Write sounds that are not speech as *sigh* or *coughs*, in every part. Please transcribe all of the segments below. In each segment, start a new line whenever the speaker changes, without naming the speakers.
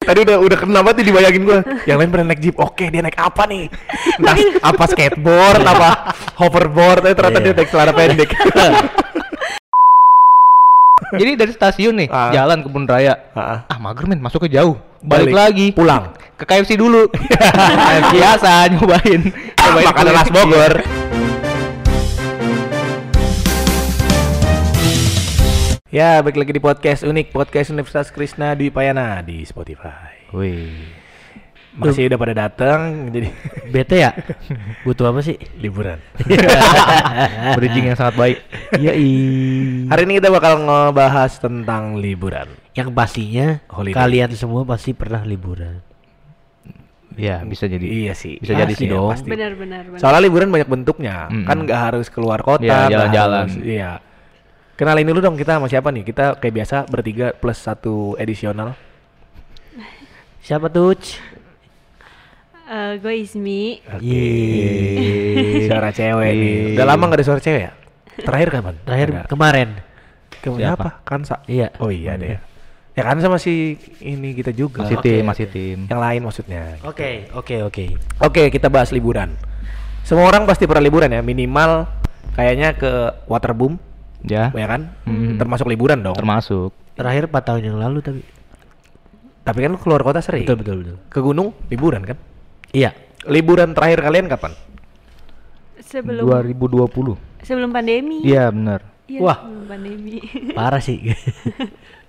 tadi udah udah kena banget nih dibayangin gue. Yang lain pada naik jeep, oke dia naik apa *laughs* nih? Entah apa skateboard, apa hoverboard, eh ternyata
Iya.
dia naik celana pendek. *laughs*
Jadi dari stasiun nih,
Ah.
jalan kebun raya.
Ah.
Ah, mager men, masuknya jauh. Balik,
Balik.
lagi.
Pulang.
Ke KFC dulu.
*laughs*
Kayak biasa nyobain. nyobain
Ah, Makanan khas
kulit.
Bogor. Ya, balik lagi di podcast unik, podcast Universitas Krishna Dwi Payana di Spotify.
Wih.
Masih udah pada datang, jadi *laughs*
Bete ya? Butuh apa sih?
liburan.
*laughs* Bridging yang sangat baik.
Iya
Hari ini kita bakal ngebahas tentang liburan.
Yang pastinya
Holiday.
kalian semua pasti pernah liburan.
Iya, bisa jadi.
Iya sih.
Bisa jadi
Pasti
sih
ya,
dong.
pasti.
Benar benar benar.
Soalnya liburan banyak bentuknya,
Mm-mm.
kan nggak harus keluar kota,
Iya,
nggak
jalan-jalan.
harus- Iya. Kenalin dulu dong kita sama siapa nih? Kita kayak biasa bertiga plus satu edisional.
Siapa tuh? C?
Eh, gue Izmi.
*laughs*
Yeay.
Suara cewek nih.
Yeay.
Udah lama nggak ada suara cewek ya? Terakhir kapan?
Terakhir
Ada.
kemarin.
Kemarin
Siapa?
apa? Kansa.
Iya.
Oh iya deh. Ya kan sama si ini kita juga.
Masih
Oke,
tim,
oke.
masih tim.
Yang lain maksudnya.
Oke, oke, oke.
Oke, kita bahas liburan. Semua orang pasti pernah liburan ya, minimal kayaknya ke waterboom,
Ya.
ya kan?
Mm.
Termasuk liburan dong.
Termasuk.
Terakhir 4 tahun yang lalu tapi.
Tapi kan lu keluar kota sering.
Betul, betul, betul.
Ke gunung liburan kan?
Iya.
Liburan terakhir kalian kapan?
Sebelum
2020.
sebelum pandemi.
Iya, benar.
Iya,
Wah.
Sebelum pandemi. *laughs*
Parah sih.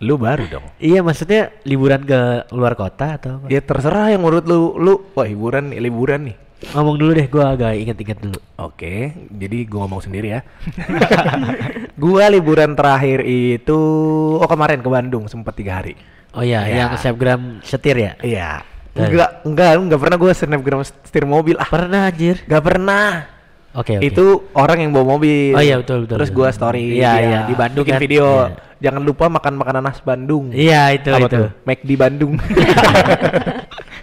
Lu baru dong.
iya, maksudnya liburan ke luar kota atau apa?
Ya terserah yang menurut lu, lu wah hiburan nih, liburan nih.
Ngomong dulu deh, gua agak inget-inget dulu.
Oke, jadi gua ngomong sendiri ya. gua liburan terakhir itu oh kemarin ke Bandung sempat tiga hari.
Oh iya,
Iya.
yang selebgram setir ya?
Iya.
Dan-
Enggak, enggak, enggak pernah gua snapgram setir mobil ah.
Pernah anjir.
Enggak pernah.
Iya, Oke, oke.
Itu orang yang bawa mobil.
Oh iya, betul, betul,
Terus
betul.
gua story
Iya,
dia
iya, di Bandung
bikin
kan.
video.
Iya.
Jangan lupa makan makanan khas Bandung.
Iya, itu
Apa
itu.
tuh?
Mac di
*laughs*
Bandung.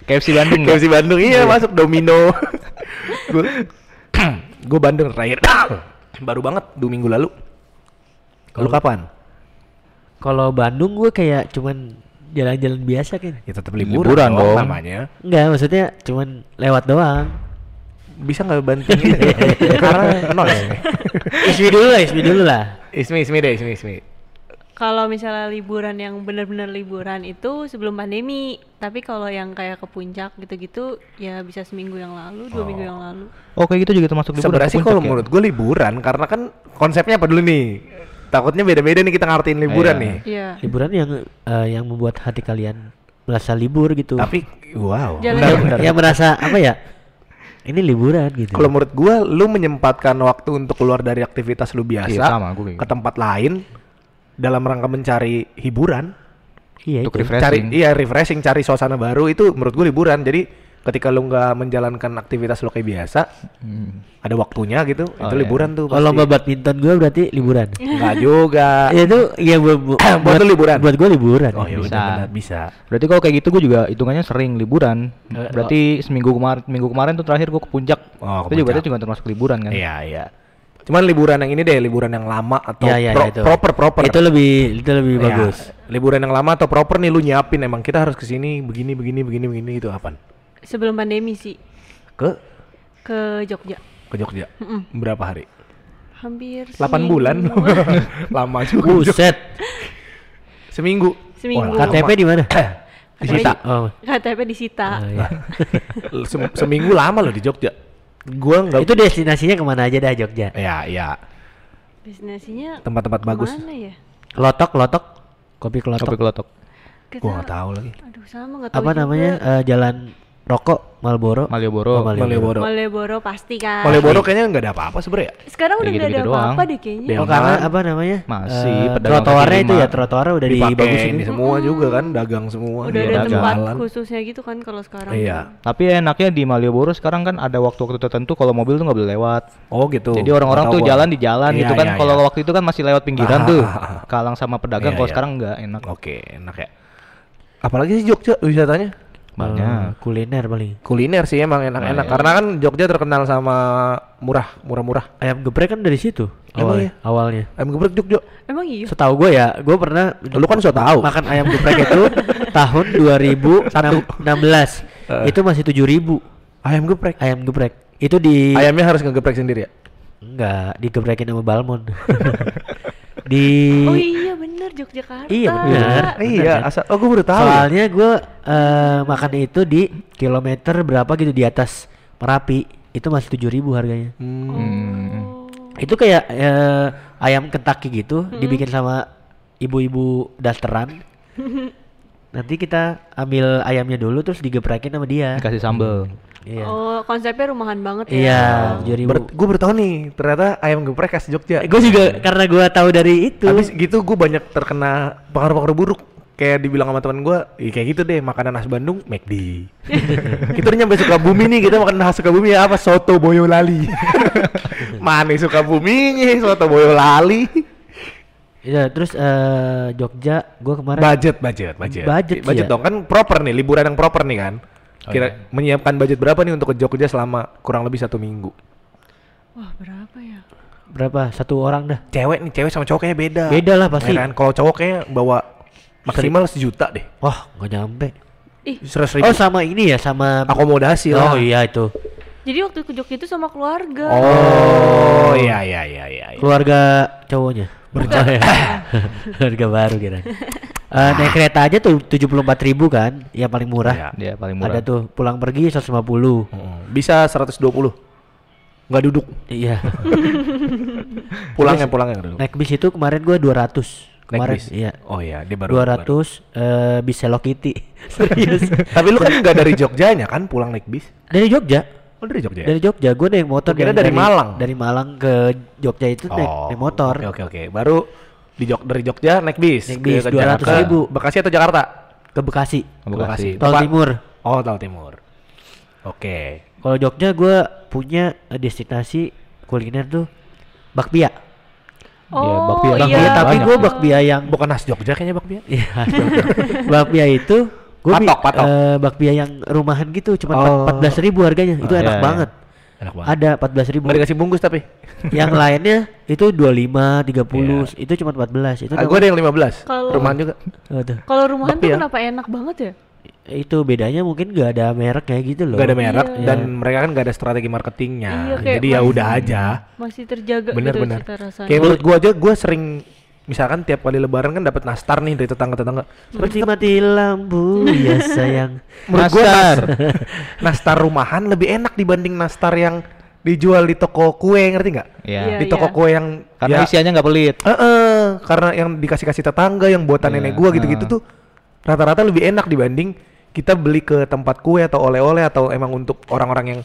KFC Bandung. ya? nggak?
KFC Bandung iya masuk
*laughs*
Domino. *clears throat* gue gue Bandung terakhir. *clears throat* Baru banget dua minggu lalu. Lu kapan?
Kalau Bandung gue kayak cuman jalan-jalan biasa kan.
Ya tetap
liburan
liburan,
dong
namanya.
Enggak, maksudnya cuman lewat doang.
*laughs* Bisa nggak banting
*laughs*
ini? Karena noise.
Iya. Ismi dulu lah, Ismi dulu lah.
Ismi, Ismi deh, Ismi, Ismi.
kalau misalnya liburan yang benar-benar liburan itu sebelum pandemi. Tapi kalau yang kayak ke puncak gitu-gitu ya bisa seminggu yang lalu, dua minggu yang lalu.
Oh, kayak gitu juga termasuk liburan.
Sebenarnya
ke
sih
puncak
kalau
ya?
menurut gue liburan karena kan konsepnya apa dulu nih? Takutnya beda-beda nih kita ngartiin liburan
Iya.
nih.
Iya.
Liburan yang eh, yang membuat hati kalian merasa libur gitu.
Tapi wow.
Jalan-
Bentar, bentar.
Iya,
yang merasa apa ya? Ini liburan gitu.
Kalau menurut gua lu menyempatkan waktu untuk keluar dari aktivitas lu biasa
Iya, sama, gua kayak
ke tempat lain dalam rangka mencari hiburan,
iya
untuk
itu.
refresh.
cari
Refreshing.
iya refreshing, cari suasana baru itu menurut gua liburan. Jadi ketika lu nggak menjalankan aktivitas lu kayak biasa,
Hmm.
ada waktunya gitu,
Oh,
itu
iya.
liburan tuh.
Kalau lomba badminton gue berarti liburan.
Enggak juga.
Ya itu ya bu- bu- buat,
Ah. Buat lu liburan?
Buat gue liburan.
oh, ya
Iya. bisa.
udah benar, bisa.
Berarti kalau kayak gitu gue juga hitungannya sering liburan.
Eh,
Berarti seminggu kemarin minggu kemarin tuh terakhir gue ke puncak.
Oh, ke
itu juga
puncak.
itu juga termasuk liburan kan.
Iya, iya. Cuman liburan yang ini deh, liburan yang lama atau
Ya, ya,
pro-
ya, itu.
proper proper.
Itu lebih itu lebih
Iya,
bagus.
*laughs* Liburan yang lama atau proper nih lu nyiapin emang kita harus kesini begini begini begini begini itu apa?
Sebelum pandemi sih
Ke
ke Jogja.
ke Jogja.
Mm-mm.
Berapa hari?
Hampir
8
*laughs*
bulan.
seminggu.
lama juga.
Buset.
Seminggu.
Seminggu.
Wah,
KTP
lama. *clears throat*
di
*coughs*
mana?
disita.
Oh.
KTP disita.
Ah, iya.
Sem- seminggu lama loh di Jogja. Gua nggak
itu destinasinya kemana aja dah Jogja?
Ya, ya.
Destinasinya
Tempat-tempat bagus.
Mana ya?
Kelotok, kelotok, kopi kelotok.
Kopi kelotok.
Kita-
Gua nggak tahu lagi.
Aduh sama nggak tahu
apa
juga.
namanya? eh, jalan rokok Malboro.
Malioboro.
Oh, Malioboro.
Malioboro.
Malioboro pasti kan.
Malioboro kayaknya nggak ada apa-apa sebenarnya. ya.
Sekarang
Ya
udah nggak ada
gitu-gitu
apa-apa
doang.
deh kayaknya.
Belok
Oh, karena apa namanya?
Masih,
Eh,
pedagang
trotoarnya
kaki
itu
lima.
ya trotoarnya udah
Dipakein
dibagusin.
di semua juga kan, dagang semua.
Udah
Iya,
ada
dagang.
tempat
Jalan.
khususnya gitu kan kalau sekarang.
Iya.
Tapi enaknya di Malioboro sekarang kan ada waktu-waktu tertentu kalau mobil tuh nggak boleh lewat.
Oh gitu.
Jadi orang-orang
Nggak
tuh
tahu gua.
jalan di jalan
Iya,
gitu kan.
iya,
kalau
iya.
waktu itu kan masih lewat pinggiran
Ah, *laughs*
tuh.
ah, ah, ah.
Kalang sama
Iya,
pedagang kalau
iya.
sekarang nggak enak.
Oke, enak ya. Apalagi sih Jogja wisatanya?
Banyak.
Eh, kuliner paling.
Kuliner sih emang enak-enak.
Nah, ya.
Karena kan Jogja terkenal sama murah, murah-murah.
Ayam geprek kan dari situ
Oh,
Emang
iya.
awalnya. Awalnya.
Ayam geprek Jogja.
Emang iya.
Setahu gue ya, gue pernah
Lu kan so tahu.
makan ayam geprek
*laughs*
itu tahun
Eh.
2016.
Heeh.
itu masih 7000
Ayam geprek.
ayam geprek. Itu di
Iya.
Ayamnya harus ngegeprek sendiri ya.
enggak digeprekin sama Balmon.
*laughs*
di
Oh iya bener Yogyakarta.
Iya, bener. Benar
iya,
kan?
asal oh gue baru tahu. ya.
Soalnya gue makan itu di kilometer berapa gitu di atas Merapi. Itu masih 7000 harganya.
Hmm.
Oh.
Itu kayak eh, ayam Kentucky gitu, dibikin sama ibu-ibu dasteran. Nanti kita ambil ayamnya dulu terus digeprekin sama dia.
Kasih sambel.
Iya.
Oh, konsepnya rumahan banget ya.
Iya, 7000.
Ber- gue baru tahu nih, ternyata ayam geprek khas Jogja.
Gue Eh, juga karena gue tahu dari itu.
Habis gitu gue banyak terkena pengaruh-pengaruh buruk. Kayak dibilang sama teman gue, "Ih, kayak gitu deh makanan khas Bandung,
*laughs*
McD. kita udah nyampe Sukabumi nih, kita makan khas Sukabumi ya apa? Soto Boyolali.
*laughs*
Mana Sukabumi nih, Soto Boyolali.
Iya, terus eh, Jogja gue kemarin
Budget, budget, budget.
Budget,
budget
iya. Oh,
dong kan proper nih, liburan yang proper nih kan. Kira menyiapkan budget berapa nih untuk ke Jogja selama kurang lebih satu minggu?
Wah, berapa ya?
berapa? Satu orang dah.
Cewek nih, cewek sama cowok kayaknya beda.
Beda lah pasti.
Ya kan? Kalau cowok kayaknya bawa maksimal sejuta deh.
Wah, nggak nyampe.
Ih,
Seratus ribu.
Oh, sama ini ya, sama
akomodasi lah.
Oh iya itu.
jadi waktu ke Jogja itu sama keluarga.
Oh, iya iya iya iya. iya.
Keluarga cowoknya. Berjalan. *laughs* Keluarga baru kira. Eh naik kereta aja tuh 74.000 kan, yang paling
Iya.
murah.
Dia paling
Ada
murah.
tuh pulang pergi 150.
Mm, Bisa 120. Nggak duduk.
Iya.
Pulangnya pulangnya nggak duduk.
*laughs* naik bis itu kemarin gua 200.
Naik
Kemarin
bis?
iya.
Oh iya, dia baru.
200
baru.
eh bis Hello Kitty. *laughs* Serius.
Tapi lu kan nggak dari Jogjanya kan pulang naik bis?
Dari Jogja.
Oh dari Jogja. ya?
Dari Jogja, gue naik motor
Gua kira dari Malang.
Dari Malang ke Jogja itu naik, naik motor.
Oh, Oke oke oke. Baru di Jog dari Jogja naik bis.
Naik bis,
ke- ke Jakarta.
200.000.
Bekasi atau Jakarta?
Ke Bekasi.
Ke Bekasi.
Tol
Tempat-
Timur.
Oh, Tol Timur. Oke.
Kalau Jogja gue punya eh, destinasi kuliner tuh bakpia.
Iya,
Oh,
bakpia.
iya.
Bakpia tapi
banyak
gue
ya.
tuh.
bakpia yang
Bukan khas Jogja kayaknya Bang Bia.
*laughs*
*laughs*
Iya. bakpia itu gue
Patok, patok.
bakpia yang rumahan
Oh.
gitu cuma empat belas ribu harganya itu
Oh,
enak
iya,
banget.
Enak banget.
Ada empat belas ribu.
Nggak dikasih bungkus tapi.
yang lainnya itu dua lima tiga puluh itu cuma empat belas itu.
Iya. Ah, gua ada yang 15.
Kalau-
Rumahan juga.
Oh, tuh.
Kalau rumahan tuh
Bakpia.
kenapa enak banget ya?
itu bedanya mungkin gak ada merek kayak gitu loh
nggak ada merek
Iya.
dan mereka kan nggak ada strategi marketingnya
Iya, kayak
jadi ya
masih-
udah aja
Masih terjaga gitu
bener-bener
cita rasanya.
kayak menurut gua aja gua sering misalkan tiap kali lebaran kan dapat nastar nih dari tetangga tetangga
seperti mati lampu ya sayang
*laughs* menurut gua
*laughs*
nastar nastar rumahan lebih enak dibanding nastar yang dijual di toko kue ngerti nggak
Iya.
Iya,
di toko
iya.
kue yang
Karena
ya,
isiannya nggak pelit.
eh, eh, karena yang dikasih kasih tetangga yang buatan
Iya,
nenek gua gitu gitu
eh.
tuh rata-rata lebih enak dibanding kita beli ke tempat kue atau oleh-oleh atau emang untuk orang-orang yang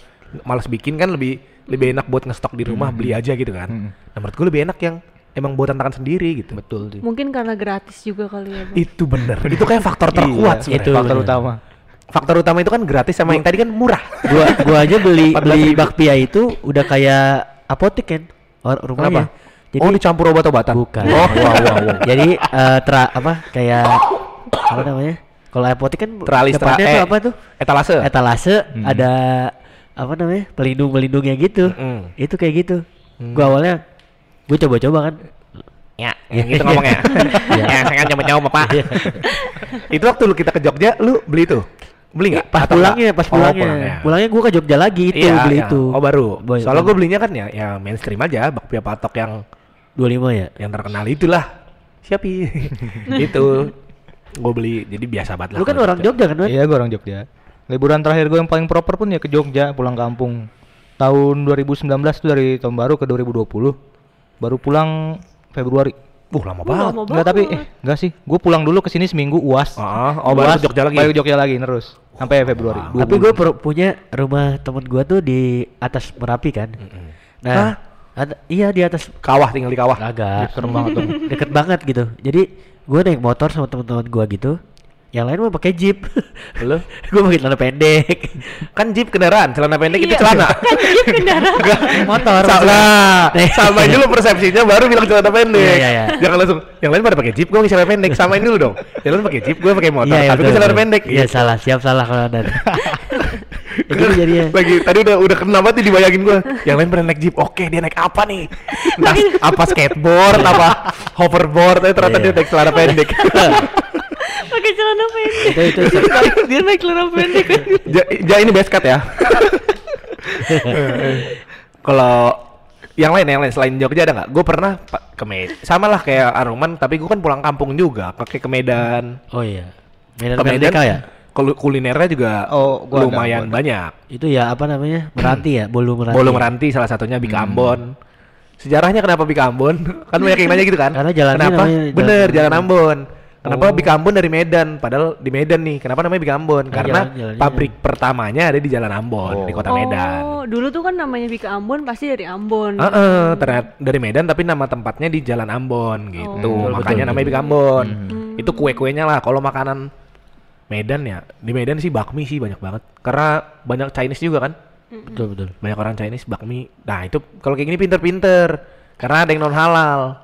malas bikin kan lebih lebih enak buat ngestok di rumah beli aja gitu kan.
Hmm.
Nah menurut gue lebih enak yang emang buatan tangan sendiri gitu.
Betul sih.
Mungkin karena gratis juga kali ya. Bang.
Itu bener. itu kayak faktor terkuat
Iya,
sebenarnya.
itu
faktor
bener.
utama.
Faktor utama itu kan gratis sama yang tadi kan murah.
gua gua aja beli
14.000.
beli bakpia itu udah kayak apotek kan or, rumahnya
oh dicampur obat-obatan.
bukan
Oh, wow, wow, wow.
jadi eh, tera apa kayak apa namanya kalau apotek kan
Teralis tra-
depannya tuh
eh, Hmm.
apa tuh
Etalase.
etalase ada apa namanya pelindung pelindungnya gitu
Mm-mm.
itu kayak gitu
Hmm.
gua awalnya gua coba-coba kan
Ya, yang gitu ngomongnya.
*laughs* Iya.
ya, saya kan nyoba-nyoba, Pak. itu waktu lu kita ke Jogja, lu beli tuh? Beli nggak?
pas
Atau
pulangnya
nggak?
pas
Oh,
pulangnya pulangnya gua ke Jogja lagi itu
Iya,
beli
iya.
itu
Oh, baru.
Boy,
Soalnya
baru.
gue belinya kan ya ya mainstream aja, bakpia patok yang
25 ya
yang terkenal itulah.
*laughs*
Siapi. itu gue beli jadi biasa banget lah.
lu kan
kalau
orang
Jogja.
Jogja kan Wan?
Iya, gue orang Jogja. Liburan terakhir gue yang paling proper pun ya ke Jogja, pulang kampung. Tahun 2019 tuh dari tahun baru ke 2020. Baru pulang Februari.
Wah, Uh, lama
Wah,
banget.
lama
Enggak tapi
banget.
eh, enggak sih. Gue pulang dulu ke sini seminggu UAS.
Ah, oh, baru ke Jogja lagi?
Baru ke Jogja lagi terus sampai Februari. Dua
tapi
bulan.
gue punya rumah temen gue tuh di atas merapi kan
Hah?
nah ada- iya di atas
Kawah tinggal di kawah.
agak
serem banget tuh.
deket banget gitu jadi gue naik motor sama teman-teman gue gitu Yang lain mah pakai jeep. *laughs*
Lu?
gue pakai celana pendek.
kan jeep kendaraan celana pendek itu
Iya,
celana
*laughs* Kan jeep kendaraan.
*laughs* Motor.
salah
*laughs* maksudnya.
samain dulu persepsinya baru bilang celana pendek
Iya, iya, iya.
jangan langsung yang lain pada pakai jeep gue pakai celana pendek samain dulu dong yang lain pakai jeep gue pakai motor
Iya, iya,
tapi gue
betul,
celana
betul.
pendek
Iya,
*laughs*
salah, siap salah kalau ada. Ya, gitu jadinya.
lagi tadi udah udah kena banget nih dibayangin gue yang lain pada naik jeep oke dia naik apa nih entah apa skateboard
*laughs*
apa hoverboard tapi ternyata
Iya.
dia naik celana pendek
*laughs*
Pakai celana pendek.
itu itu
*laughs*
Dia naik celana pendek.
ja, ja ini best cut ya kalau yang lain yang lain selain Jogja ada nggak gue pernah pa- ke Medan sama lah kayak Aruman tapi gue kan pulang kampung juga pakai ke Medan
Oh iya. Medan
ke Medan
Merdeka ya?
kul- kulinernya juga
Oh, gua ada,
lumayan
gua ada.
banyak
Itu ya apa namanya? Meranti ya, Bolu Meranti.
Bolu Meranti salah satunya
Hmm.
Bika Ambon. Sejarahnya kenapa Bika Ambon? *laughs* Kan banyak yang nanya gitu kan.
Karena jalannya
kenapa?
namanya jalan
Bener,
Ambon. Oh.
jalan Ambon. Kenapa Bika Ambon dari Medan? Padahal di Medan nih. Kenapa namanya Bika Ambon?
Karena
Karena
jalan-jalannya.
pabrik pertamanya ada di Jalan Ambon, di Kota Medan.
Oh, dulu tuh kan namanya Bika Ambon pasti dari Ambon.
Heeh,
Hmm.
ternyata dari Medan tapi nama tempatnya di Jalan Ambon gitu.
Oh.
Makanya
Betul, betul, Hmm.
namanya Bika Ambon. Itu kue-kuenya lah. Kalau makanan Medan ya, di Medan sih bakmi sih banyak banget. Karena banyak Chinese juga kan.
Betul betul.
banyak orang Chinese bakmi nah itu kalau kayak gini pinter-pinter karena ada yang non halal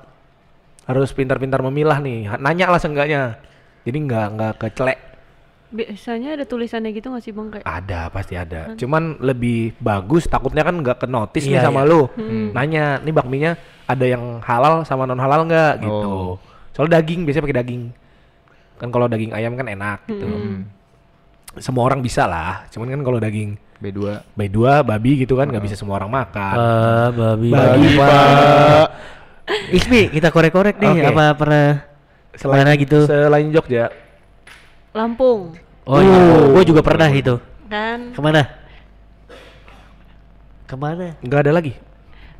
harus pintar-pintar memilah nih Ha- nanya lah seenggaknya jadi nggak nggak kecelek
Biasanya ada tulisannya gitu nggak sih bang kayak?
ada pasti
Hmm.
ada cuman lebih bagus takutnya kan nggak ke notice nih
Iya,
sama lu
Hmm.
nanya nih bakminya ada yang halal sama non halal nggak gitu
Oh.
soalnya daging biasanya pakai daging kan kalau daging ayam kan enak gitu
Hmm.
semua orang bisa lah cuman kan kalau daging
B2
by dua babi gitu kan nggak bisa semua orang makan
Eh, babi.
Babi, Pak.
Ismi, kita korek-korek nih
Oke.
apa pernah
Selain
Mana gitu?
Selain Jogja.
Lampung
Oh iya,
Uh.
gue juga pernah itu.
kan?
Kemana? Kemana?
Enggak ada lagi.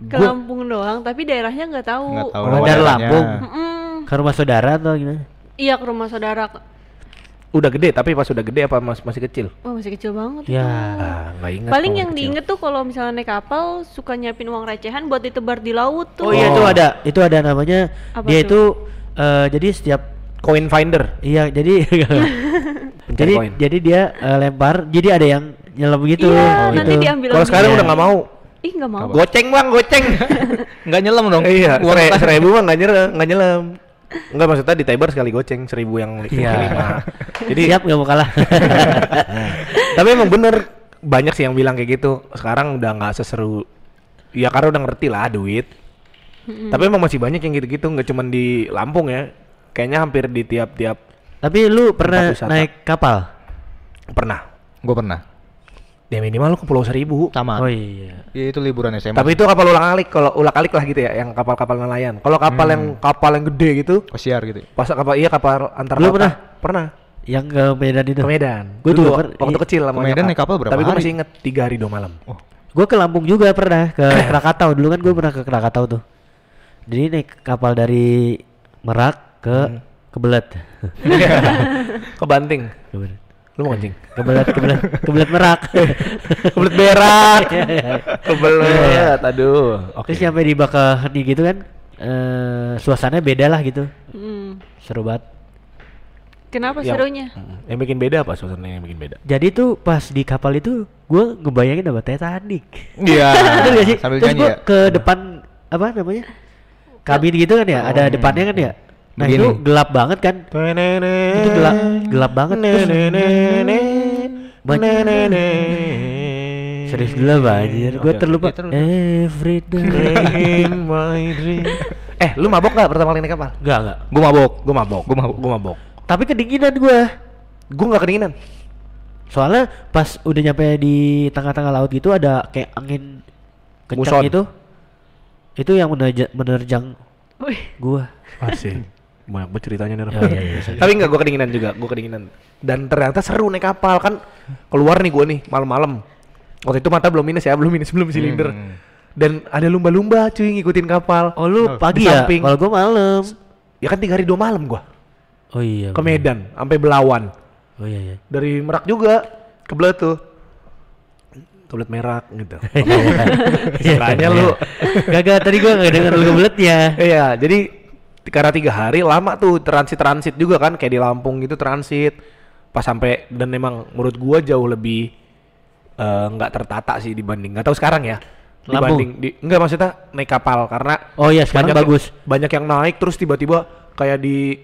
Ke
Gua-
Lampung doang, tapi daerahnya nggak tahu.
nggak tahu
Oh, dari
daerahnya.
Lampung.
Mm-mm.
Ke rumah saudara atau gimana?
Iya ke rumah saudara.
Udah gede tapi pas udah gede apa mas- masih kecil?
Wah masih kecil banget
Ya.
itu.
Ah, enggak ingat.
Hmm. Paling
kalau
yang
kecil.
diinget tuh kalau misalnya naik kapal suka nyiapin uang recehan buat ditebar di laut tuh.
Oh iya itu ada, itu ada namanya.
Apa
dia
tuh?
itu eh, jadi setiap
coin finder.
iya
*laughs*
jadi jadi
koin.
jadi dia eh, lempar, jadi ada yang nyelam gitu. Oh,
Iya, nanti
gitu.
diambil.
Kalau sekarang
ambil.
udah nggak mau.
Ih nggak mau.
Goceng Bang, goceng.
Nggak nyelam dong.
iya,
Uang
sere-
kas.
seribu mah nggak nyelam, nggak nyelam. Enggak maksudnya di Taibar sekali goceng seribu yang li-
Iya.
*laughs* lima.
Jadi
Jadi
siap nggak mau kalah.
*laughs* tapi emang bener banyak sih yang bilang kayak gitu. Sekarang udah nggak seseru. Ya karena udah ngerti lah duit. Tapi emang masih banyak yang gitu-gitu nggak cuman di Lampung ya. Kayaknya hampir di tiap-tiap
Tapi lu pernah
wisata.
naik kapal?
pernah.
Gua pernah.
Ya minimal lu ke Pulau Seribu.
Sama.
Oh iya.
Ya, itu liburan SMA.
Tapi itu kapal ulang alik, kalau ulak alik lah gitu ya, yang kapal-kapal nelayan. Kalau kapal yang kapal yang gede gitu,
kosiar gitu.
pas kapal iya kapal antar
Lu
lautan.
pernah?
Pernah.
Yang ke Medan itu.
Ke Medan.
Gua
Dulu
juga per-
waktu
i-
kecil sama
ke Medan
nyokap.
naik kapal berapa
Tapi gue
hari?
masih inget tiga hari dua malam.
Gue ke Lampung juga pernah
*coughs*
ke Krakatau dulu kan gue pernah ke Krakatau tuh. Jadi naik kapal dari Merak ke
Hmm.
Kebelet. *laughs*
ke Banting.
Kebelet.
Lu mau kencing?
Kebelet Kebelet Kebelet Merak.
*laughs*
Iya,
Kebelet
*laughs*
berak.
Iya.
Kebelet. Aduh. Oke.
Terus nyampe di Bakaheni gitu kan eh suasananya beda lah gitu.
Mm.
Seru banget.
Kenapa
Yang-
serunya?
Mm. Yang bikin beda apa suasananya yang bikin beda?
Jadi tuh pas di kapal itu gue ngebayangin apa Titanic.
Iya.
Bener gak sih?
Sambil
Terus
nyanyi
gua
ya.
ke depan apa namanya? Kabin gitu kan ya, ada depannya kan ya. Nah
Begini.
itu gelap banget kan? Itu gelap, gelap banget. Terus, banyak- serius gelap banjir. Gue terlupa.
Iya, terlupa.
Every day.
In my dream. Eh, lu mabok gak pertama kali naik kapal?
Enggak enggak.
Gue mabok, gue mabok,
Gua mabok.
gue mabok.
Tapi kedinginan gue.
Gue nggak kedinginan.
Soalnya pas udah nyampe di tengah-tengah laut gitu ada kayak angin kencang
Muson.
gitu. Itu yang menerja- menerjang
Wih,
gue.
Masih. Banyak banget ceritanya nih.
Oh, iya, iya, iya.
Tapi nggak, gue kedinginan juga, gue kedinginan. Dan ternyata seru naik kapal kan. Keluar nih gue nih malam-malam. Waktu itu mata belum minus ya, belum minus belum silinder. Dan ada lumba-lumba cuy ngikutin kapal.
Hmm, Oh lu pagi ya?
samping.
Kalau gue malam.
Ya kan tiga hari dua malam gue
Oh iya.
ke
bener.
Medan, sampai Belawan.
Oh iya iya.
Dari Merak juga ke Belet tuh. Ke Belet Merak
*laughs*
gitu.
Iya,
Istilahnya lu
Gagak Iya, tadi gua gak denger lu kebeletnya
Iya, jadi t- karena tiga hari lama tuh transit transit juga kan kayak di Lampung gitu transit pas sampai dan memang menurut gua jauh lebih eh, nggak tertata sih dibanding nggak tahu sekarang ya
Lampung.
dibanding di, nggak maksudnya naik kapal karena
Oh iya, sekarang
banyak
bagus.
banyak yang naik terus tiba-tiba kayak di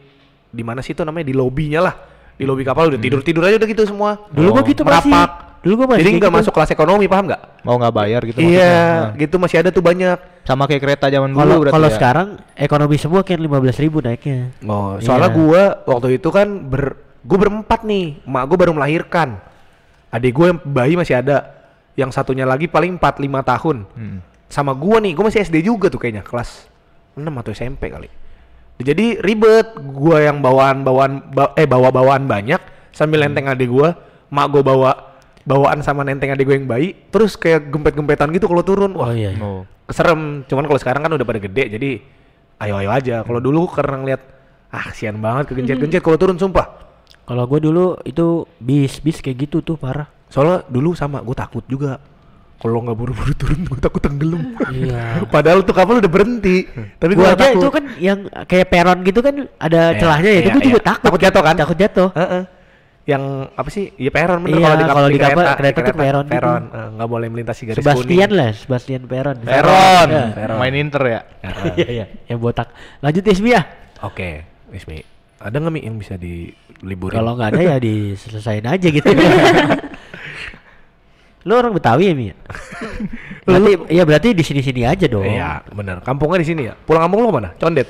di mana sih itu namanya di lobinya lah di lobi kapal udah tidur tidur aja udah gitu semua
Hmm. Dulu gua gitu masih.
merapak
Dulu gua masih
jadi
kayak
nggak
gitu. Nah.
masuk kelas ekonomi paham nggak
mau nggak bayar gitu
iya
maksudnya.
gitu masih ada tuh banyak
Nah, sama kayak kereta zaman dulu
Kalau
berarti
kalau
ya.
sekarang ekonomi semua kan 15.000 naiknya.
Oh, soalnya
Iya.
gua waktu itu kan ber gua berempat nih. Mak gua baru melahirkan. Adik gua yang bayi masih ada. Yang satunya lagi paling 4 5 tahun.
Hmm.
Sama gua nih, gua masih SD juga tuh kayaknya, kelas 6 atau SMP kali. Jadi ribet, gua yang bawaan-bawaan ba- eh bawa-bawaan banyak sambil
Hmm.
nenteng adik gua, mak gua bawa bawaan sama nenteng adik gua yang bayi, terus kayak gempet-gempetan gitu kalau turun. Wah,
Oh iya. iya.
Oh.
keserem cuman kalau sekarang kan udah pada gede jadi ayo ayo aja kalau
Hmm.
dulu karena ngeliat ah sian banget kegencet gencet kalau turun sumpah
Kalau gua dulu itu bis bis kayak gitu tuh parah.
soalnya dulu sama gue takut juga kalau nggak buru-buru turun gue takut tenggelam
Iya.
*laughs* padahal tuh kapal udah berhenti tapi gue
Gua aja
takut
itu kan yang kayak peron gitu kan ada
Iya,
celahnya ya. Itu
iya,
gua juga
iya.
takut.
Takut jatuh kan?
Takut jatuh.
Heeh. yang apa sih ya peron bener
Iya,
kap-
kalau di kapal- kereta tuh peron gitu.
peron Eh, nggak boleh melintasi garis kuning
Sebastian lah, Sebastian Peron.
Peron.
Iya.
Peron.
Main Inter ya.
Heeh.
*laughs* Iya iya, yang botak. Lanjut Ismi ya.
oke Ismi ada nggak mi yang bisa diliburin
Kalau nggak ada ya diselesain aja
*laughs*
gitu. Lu orang Betawi ya,
*laughs*
Mi? berarti, ya berarti di sini-sini aja dong.
iya bener kampungnya di sini ya pulang kampung lo mana condet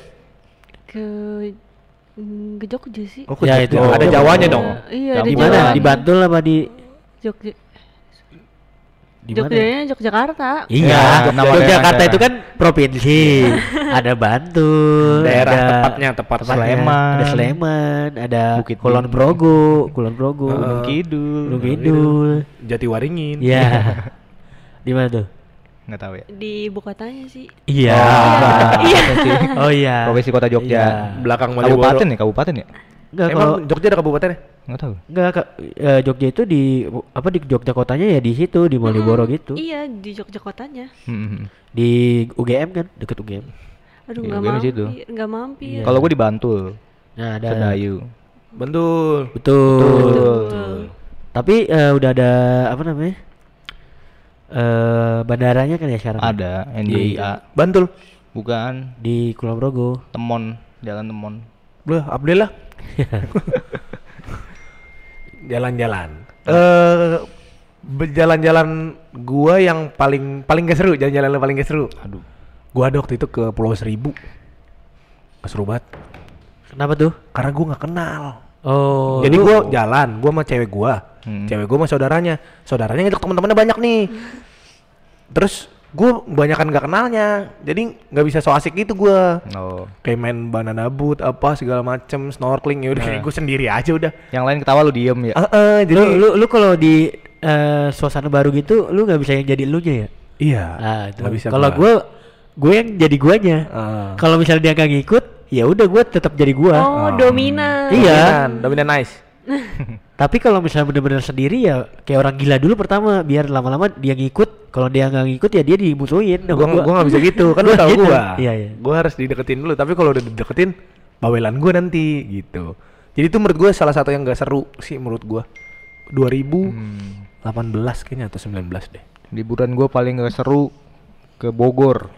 ke mm, ke Jogja sih
Oh, Jogja.
Ya, itu
ada
Jogja.
Jawanya dong.
Eh, iya ada
Di
Kampung.
Jawa.
mana? Di Bantul apa di
Jogja
di mana?
Jogjanya Yogyakarta
Iya,
Ya, nama
Yogyakarta
daerah-daerah.
itu kan
*laughs*
provinsi. ada Bantul,
Daerah
ada Iya,
tepatnya, tepat
Sleman.
ada Sleman, ada
Bukit
Kulon
Tinggi.
Progo, Kulon Progo,
Heeh.
Gunung
Kidul.
Kidul.
Jatiwaringin.
*laughs*
Iya. Di mana tuh?
Enggak tahu ya.
di ibu kotanya sih
Iya.
Iya.
Oh iya.
Provinsi Kota Jogja.
Iya.
Belakang Malioboro.
Kabupaten ya, kabupaten ya?
Enggak
Emang
kalau
Jogja ada ya? kabupatennya?
Enggak tahu.
enggak Kak, eh, Jogja itu di apa di Jogja kotanya ya di situ di Malioboro gitu.
iya di Jogja kotanya
Hmm.
Di UGM kan, deket UGM.
aduh
Iya, gua
nggak
di
mampir
situ. Iya.
nggak mampir
Kalau gue di Bantul,
Nah, ada
Sedayu.
Bentul.
Betul.
Betul.
Tapi eh, udah ada apa namanya? Eh bandaranya kan ya sekarang?
Ada NDIA.
Bantul.
Bukan
Di Kulon Progo.
Temon, Jalan Temon.
Blah, Abdel
*laughs*
lah. Jalan-jalan. Eh be- jalan-jalan gua yang paling paling gak seru, jalan-jalan yang paling gak seru.
Aduh.
Gua ada waktu itu ke Pulau Seribu. Gak seru banget.
Kenapa tuh?
Karena gua nggak kenal.
Oh.
Jadi gua jalan, gua sama cewek gua.
Hmm.
Cewek gua sama saudaranya. Saudaranya ngajak teman-temannya banyak nih. Terus gua banyakan gak kenalnya. Jadi nggak bisa so asik gitu gua.
No.
Kayak main banana boot apa segala macem snorkeling ya udah kayak gua sendiri aja udah.
Yang lain ketawa lu diem ya.
Eh, eh, jadi
Nah. lu lu, lu kalau di eh, suasana baru gitu lu nggak bisa yang jadi elunya ya?
iya.
Ah, itu.
nggak bisa
Kalau gue gue yang jadi guanya.
Ah.
Kalau misalnya dia nggak ngikut, ya udah gue tetap jadi gua.
oh dominan
Iya.
dominan, dominan nice.
Tapi kalau misalnya bener-bener sendiri ya kayak orang gila dulu pertama biar lama-lama dia ngikut. Kalau dia nggak ngikut ya dia dimusuhin. sama
Gua gua nggak bisa gitu, kan lu
*laughs* Gua
tahu
gitu.
gua.
Iya, iya.
Gua harus dideketin dulu, tapi kalau udah dideketin bawelan gua nanti gitu. Jadi itu menurut gua salah satu yang gak seru sih menurut gua. 2000
Hmm.
18 kayaknya atau 19 deh.
Liburan gue paling gak seru ke Bogor.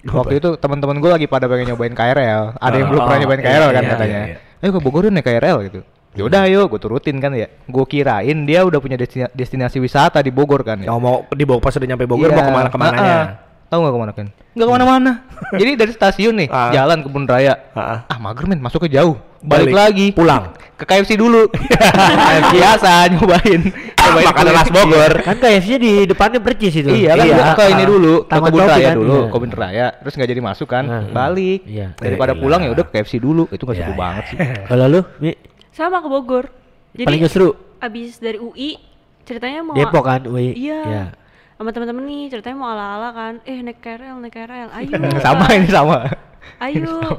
Waktu itu teman-teman gue lagi pada pengen nyobain KRL. Ada yang belum
Oh,
pernah nyobain
iya,
KRL kan
iya,
katanya.
iya,
Ayo ke Bogor yuk naik KRL gitu. Yaudah ayo, gue turutin kan ya. Gue kirain dia udah punya destina- destinasi wisata di Bogor kan ya.
Yang mau dibawa pas udah nyampe
Iya.
Bogor mau kemana kemana ya?
Tahu nggak kemana kan? Nggak kemana-mana. *laughs* Jadi dari stasiun nih,
Ah.
jalan kebun raya.
Ah.
Ah mager men, masuknya jauh. Balik,
Balik.
lagi.
Pulang.
Ke KFC
*laughs*
dulu. *laughs* KFC biasa nyobain. nyobain
Makanan khas
kulit.
Bogor.
Kan KFC di depannya percis itu.
Iya kan gua ke ini
ah.
dulu, ke
Taman
kebun
Topi
raya
kan,
dulu,
iya.
kebun raya, terus nggak jadi masuk kan,
Heeh.
balik.
Iya.
Ya
Daripada
iyalah.
pulang ya udah KFC dulu, itu nggak seru
Ya,
banget
*laughs*
sih. *laughs*
Kalau Iya. lu, Mi,
sama ke Bogor jadi
paling nggak seru
abis dari UI ceritanya mau
Depok kan, UI.
iya sama teman-teman nih ceritanya mau ala-ala kan eh naik KRL naik KRL
*laughs*
ayo
sama ini sama. *laughs*
ayo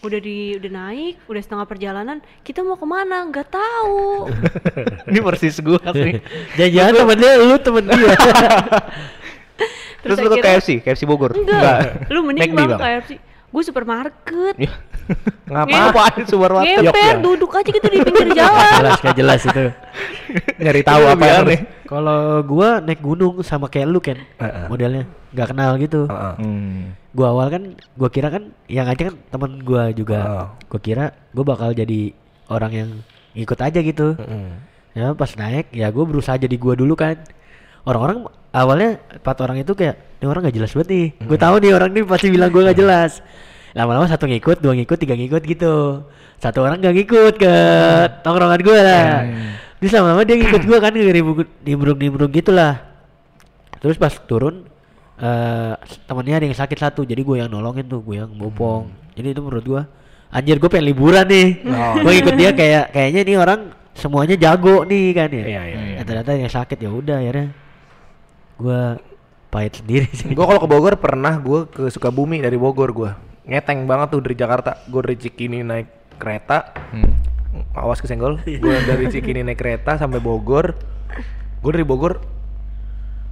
udah di udah naik udah setengah perjalanan kita mau kemana nggak tahu
*laughs*
ini persis gua sih.
Jangan-jangan temennya lu temen
*laughs*
dia.
Terus
Terus
lu ke
akhirnya-
KFC, KFC Bogor.
enggak lu mending
McD
bang
bang.
*laughs*
KFC gue supermarket
Iya.
Ngapa?
Apaan Subarwati?
Yok
Ngeper,
ya?
duduk aja gitu di
*laughs*
pinggir
Nggak
jalan.
jelas nggak jelas itu.
Nyari tahu apa yang
nih?
harus-
Kalau gua naik gunung sama kayak lu kan
Heeh.
modelnya nggak kenal gitu.
Heeh.
Hmm.
Gua awal kan gua kira kan yang aja kan teman gua
Heeh.
juga. Gua kira gua bakal jadi orang yang ikut aja gitu.
Mm-mm.
Ya pas naik ya gue berusaha jadi gua dulu kan. Orang-orang awalnya empat orang itu kayak ini orang nggak jelas banget nih. Gue tahu nih orang nih pasti bilang gua nggak jelas. Lama-lama satu ngikut, dua ngikut, tiga ngikut gitu. Satu orang nggak ngikut ke tongkrongan gua lah. Terus lama-lama dia ngikut gua kan nimbrung-nimbrung gitu lah. Terus pas turun eh temennya ada yang sakit satu, jadi gue yang nolongin tuh, gue yang bopong. Jadi itu menurut gue, anjir gue pengen liburan nih. Gue ikut dia kayak kayaknya nih orang semuanya jago nih kan ya.
Iya, iya,
Nah, ternyata yang sakit ya udah akhirnya gue pahit sendiri sih.
Gue Mm. kalau ke Bogor pernah gue ke Sukabumi dari Bogor gue ngeteng banget tuh dari Jakarta gue dari Cikini naik kereta
Hmm.
awas kesenggol gue dari Cikini naik kereta sampai Bogor gue dari Bogor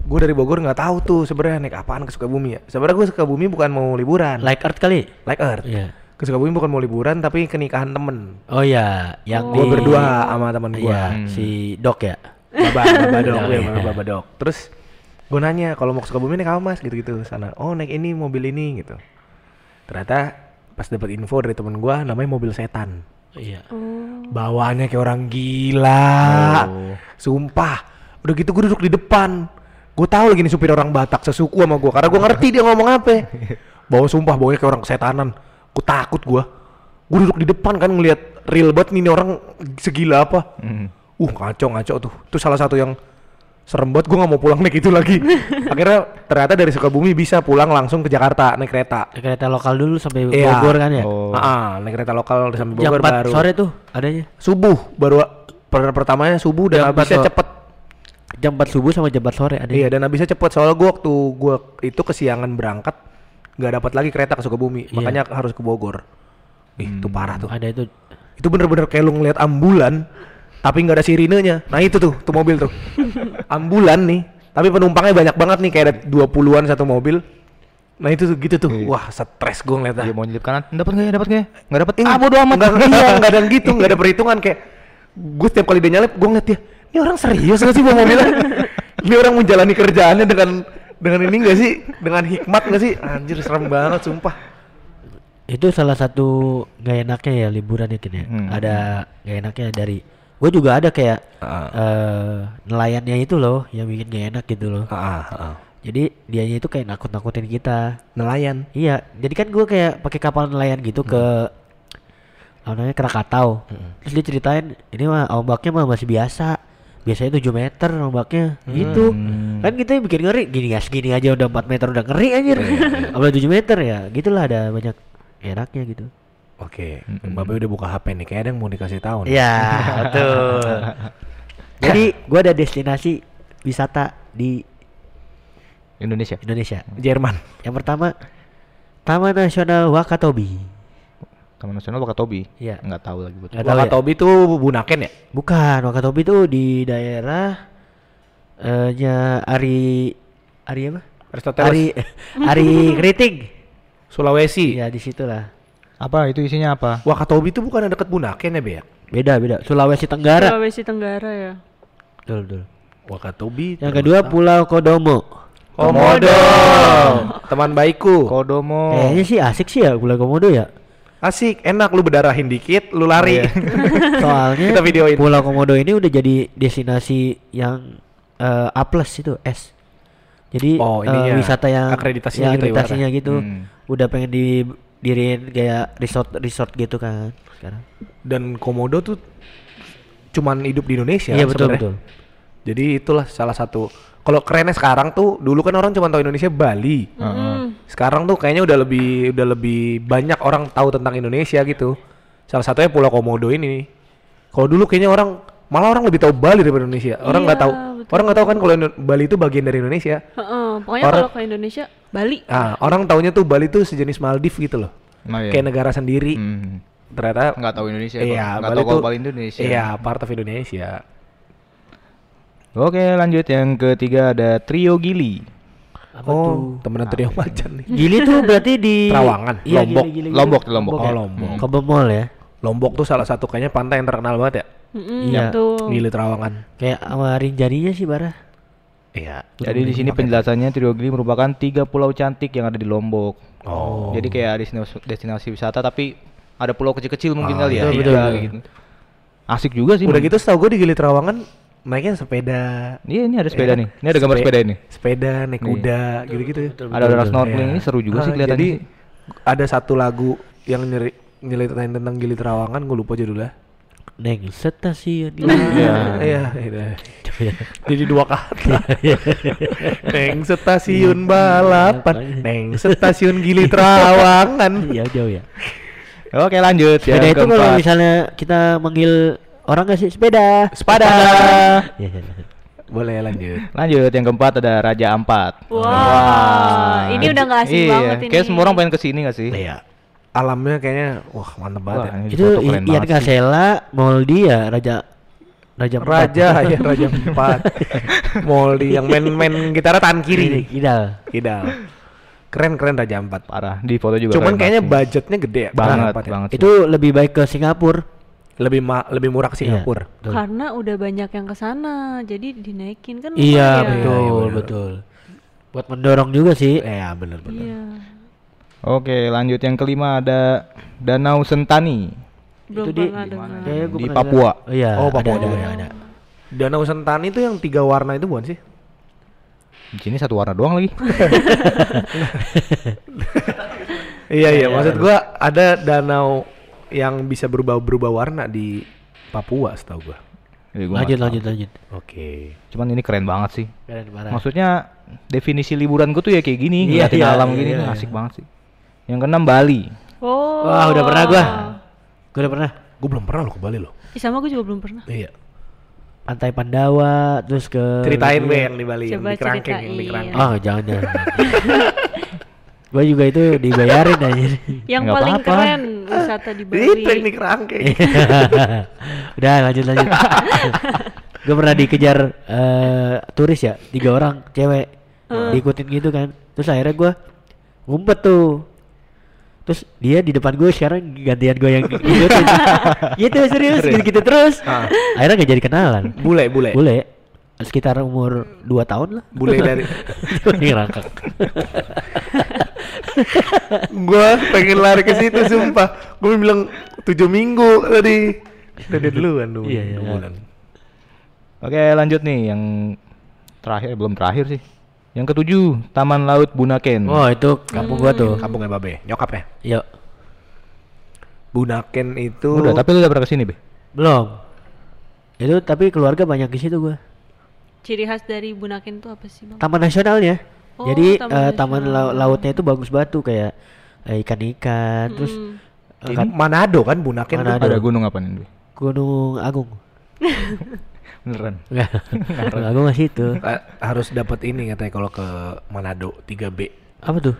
gue dari Bogor nggak tahu tuh sebenarnya naik apaan ke Sukabumi ya sebenarnya gue Sukabumi bukan mau liburan
Like art kali.
like Earth
Iya.
ke Sukabumi bukan mau liburan tapi ke nikahan temen
Oh iya, yang
gue
di-
berdua sama temen gue
Iya, si Dok ya.
Baba, Baba dok,
Iya,
ya,
iya.
Baba dok. Terus gue nanya kalau mau ke Sukabumi naik apa mas gitu-gitu sana. Oh naik ini mobil ini gitu. Ternyata pas dapat info dari temen gue namanya mobil setan.
Iya.
Bawaannya kayak orang gila. Sumpah. Udah gitu gue duduk di depan. Gue tahu lagi nih supir orang Batak sesuku sama gue. Karena gue ngerti dia ngomong apa. Bawa sumpah bawanya kayak orang kesetanan. Gue takut gue. Gue duduk di depan kan ngelihat real banget nih, nih orang segila apa.
Hmm.
Uh ngaco ngaco tuh. Itu salah satu yang serem banget gue nggak mau pulang naik itu lagi. Akhirnya ternyata dari Sukabumi bisa pulang langsung ke Jakarta naik kereta.
Kereta lokal dulu sampai
Iya.
Bogor kan ya.
Oh.
Ah, ah, naik kereta lokal sampai
Jam
Bogor
4
baru.
sore tuh adanya.
Subuh baru per pertamanya subuh dan
Jam empat
habisnya
sore.
cepet.
Jam 4 subuh sama jam 4 sore ada.
Iya dan habisnya cepet soalnya gue waktu gue itu kesiangan berangkat nggak dapat lagi kereta ke Sukabumi makanya harus ke Bogor. Ih, itu parah tuh.
Ada itu.
Itu bener-bener kayak lu ngeliat ambulan tapi nggak ada sirinenya. Nah itu tuh, tuh mobil tuh. ambulan nih, tapi penumpangnya banyak banget nih kayak ada 20-an satu mobil. Nah itu tuh gitu tuh. Wah, stres gue ngeliatnya.
Dia mau nyelip kanan, dapat nggak ya? Dapat nggak ya? Nggak dapat.
Ini
Ah bodo amat.
nggak- iya, *laughs* nggak ada yang gitu, nggak ada perhitungan kayak gue setiap kali dia nyalip, gue ngeliat dia, ini orang serius gak sih bawa mobilnya? *laughs* ini orang menjalani kerjaannya dengan dengan ini gak sih? Dengan hikmat gak sih? Anjir serem banget sumpah.
Itu salah satu gak enaknya ya liburan itu ya.
Hmm.
Ada gak enaknya dari gue juga ada kayak
Ah.
eh, nelayannya itu loh yang bikin gak enak gitu loh.
Heeh,
Jadi dianya itu kayak nakut-nakutin kita.
Nelayan.
Iya, jadi kan gue kayak pakai kapal nelayan gitu ke apa namanya Krakatau. Terus dia ceritain ini mah ombaknya mah masih biasa. Biasanya 7 meter ombaknya gitu. Kan kita yang bikin ngeri gini ya segini aja udah 4 meter udah ngeri anjir. *laughs* Apalagi 7 meter ya. Gitulah ada banyak enaknya gitu.
Oke, Bapak udah buka HP nih, kayaknya ada yang mau dikasih tahu nih.
Iya, betul. jadi gua ada destinasi wisata di
Indonesia.
Indonesia.
Jerman.
Yang pertama Taman Nasional Wakatobi.
Taman Nasional Wakatobi.
Iya.
Nggak tahu lagi betul.
Nggak tahu ya?
Wakatobi tuh Bunaken ya?
Bukan, Wakatobi itu di daerah eh nya Ari Ari apa?
Aristoteles.
Ari Ari Keriting.
Sulawesi.
Iya, di situlah.
Apa itu isinya apa?
Wakatobi tuh bukan deket Bunaken ya, Bek?
Beda, beda. Sulawesi Tenggara.
Sulawesi Tenggara ya.
Betul, betul.
Wakatobi.
Yang kedua Pulau Kodomo.
Komodo. Teman baikku.
Kodomo.
Kayaknya sih asik sih ya Pulau Komodo ya.
Asik, enak lu bedarahin dikit, lu lari.
Iya. *laughs* Soalnya
Kita videoin.
Pulau Komodo ini udah jadi destinasi yang eh, A+ itu S. Jadi
Oh,
eh,
ininya,
wisata yang
akreditasinya
yang
gitu ibaratnya.
akreditasinya gitu.
Hmm.
Udah pengen didiriin kayak resort resort gitu kan sekarang.
*laughs* Dan Komodo tuh cuman hidup di Indonesia
Iya betul
sebenarnya.
betul.
Jadi itulah salah satu. Kalau kerennya sekarang tuh, dulu kan orang cuma tahu Indonesia Bali. Sekarang tuh kayaknya udah lebih udah lebih banyak orang tahu tentang Indonesia gitu. Salah satunya Pulau Komodo ini. Kalau dulu kayaknya orang malah orang lebih tahu Bali daripada Indonesia. Orang nggak
Iya,
tahu.
betul.
Orang nggak tahu kan kalau Indo- Bali itu bagian dari Indonesia.
Heeh, pokoknya
Orang-
kalau ke Indonesia Bali.
Ah, orang taunya tuh Bali tuh sejenis Maldives gitu loh.
Nah, iya.
Kayak negara sendiri.
Hmm.
Ternyata
Nggak tahu Indonesia.
Iya,
Bang. nggak
Bali
tahu
tuh
kalau Bali Indonesia.
Iya, part of Indonesia.
Oke, lanjut yang ketiga ada Trio Gili.
Apa tuh?
Oh,
Ah,
temenan
iya.
tadi Om Macan nih.
Gili tuh berarti
*laughs*
di
Terawangan,
Iya,
Lombok,
Gili, Gili, Gili.
Lombok, Lombok. Hmm.
Oh,
ya?
Lombok.
Kebon Mall ya.
Lombok tuh salah satu kayaknya pantai yang terkenal banget ya.
Mm-mm,
Iya.
betul.
Gili Trawangan.
Kayak sama Rinjaninya sih Bara.
Iya.
Jadi di sini penjelasannya Triogili merupakan tiga pulau cantik yang ada di Lombok.
Oh.
Jadi kayak destinasi, destinasi wisata tapi ada pulau kecil-kecil mungkin
Ah,
kali
betul,
ya. Iya,
betul, betul.
gitu. Asik juga sih.
Udah
Bang.
gitu setahu gue di Gili Trawangan naiknya sepeda.
Iya, ini ada sepeda
Iya.
nih. Ini ada gambar
Sepe-
sepeda ini.
Sepeda, naik kuda, gitu-gitu ya.
Ada orang snorkeling
Iya.
ini seru juga
Ah,
sih kelihatannya.
Jadi
sih.
ada satu lagu yang nyeri nyeritain tentang Gili Trawangan, gue lupa judulnya.
Neng stasiun. *laughs*
Iya, iya, iya.
ya.
Jadi dua kata.
Iya,
Neng stasiun balapan, neng stasiun Gili Trawangan.
Iya jauh ya.
Oke, lanjut.
Sepeda
Yang
itu kalau
keempat.
misalnya kita manggil orang nggak sih sepeda?
Sepada.
Iya, iya, iya.
Boleh lanjut.
Lanjut yang keempat ada Raja Ampat.
Wah, ini udah nggak asing
Iya,
banget ini.
Kayak semua orang pengen kesini gak sih?
Iya. Alamnya kayaknya wah mantep banget
Wah,
ya.
ini di
Itu
foto
I-
keren
Ian
banget sih.
Kasela, Moldi ya, Raja Raja Empat.
Raja ya Raja empat. Moldi yang main-main gitar tangan
Iya.
Ini,
kiri.
Idal.
Kidal. Keren keren Raja empat.
Parah, di foto juga.
Cuman
keren
kayaknya
banget
budgetnya gede ya.
sih. banget
Raja Ampat ya.
banget. sih.
Itu lebih baik ke Singapura.
Lebih ma- lebih murah ke Singapura.
Iya, betul.
Karena udah banyak yang kesana, jadi dinaikin kan?
Iya,
lumayan.
betul,
Iya, bener.
betul. Buat mendorong juga sih.
Iya, bener bener.
Iya.
Oke, lanjut yang kelima ada Danau Sentani.
Belum
di-
pernah
di
dengar.
Kayaknya gua
Di
pernah
Papua.
dengar. Oh, iya,
Oh, Papua
ada, ada,
juga
ada,
ya.
ada.
Danau Sentani itu yang tiga warna itu bukan sih?
Di sini satu warna doang
*laughs*
lagi.
Iya iya, maksud gua ada danau yang bisa berubah-berubah warna di Papua setahu gua.
Eh, gua
Lanjut,
nggak
lanjut, lanjut.
Oke.
tahu. Cuman ini keren banget sih.
Keren parah.
Maksudnya definisi liburan gue tuh ya kayak gini,
Iya,
ngeliatin
iya,
alam
iya,
gini,
iya.
asik banget sih. Yang keenam Bali.
Oh.
Wah, udah pernah gua. Gua udah pernah.
Gua belum pernah loh ke Bali loh.
Ih, sama gue juga belum pernah.
Iya.
Pantai Pandawa, terus ke
Ceritain deh yang di Bali, yang
Coba
di kerangkeng, yang di
ceritain. Iya.
kerangkeng.
Oh, jangan jangan. *laughs* gua juga itu dibayarin aja.
Yang
Nggak
paling
apa-apa.
keren wisata di Bali.
Itu yang di kerangkeng.
*laughs* Udah lanjut lanjut.
*laughs*
gue pernah dikejar eh, turis ya, tiga orang cewek diikutin gitu kan. Terus akhirnya gue ngumpet tuh. Terus dia di depan gue sekarang gantian gue
*laughs*
yang ngikutin. gitu serius gitu, gitu terus. Akhirnya gak jadi kenalan.
Bule, Ah. bule.
Boleh sekitar umur 2 tahun lah.
Bule *laughs*
*laughs*
dari
Ngerangkak.
gua pengen lari ke situ sumpah. Gua bilang 7 minggu tadi. Udah dia duluan dulu.
Iya, iya.
Oke, lanjut nih yang terakhir eh, belum terakhir sih. Yang ketujuh, Taman Laut Bunaken.
Oh, itu kampung gua tuh. Iya.
Kampungnya Babe, ya? nyokapnya.
Yuk.
Bunaken itu
Udah, tapi lu udah pernah kesini, Be?
Belum. Itu tapi keluarga banyak di situ gua.
Ciri khas dari Bunaken tuh apa sih, Bang?
Taman nasionalnya.
Oh,
Jadi
taman
eh, taman
nasional.
lau- lautnya itu bagus batu kayak eh, ikan-ikan, terus
Mm.
eh,
ini
kan-
ya? Manado kan Bunaken
Manado.
tuh.
Ada gunung apa nih, Be?
Gunung
*laughs*
Agung.
Beneran.
Enggak. Gunung Agung masih itu.
Eh, harus dapat ini katanya kalau ke Manado 3B.
Apa tuh?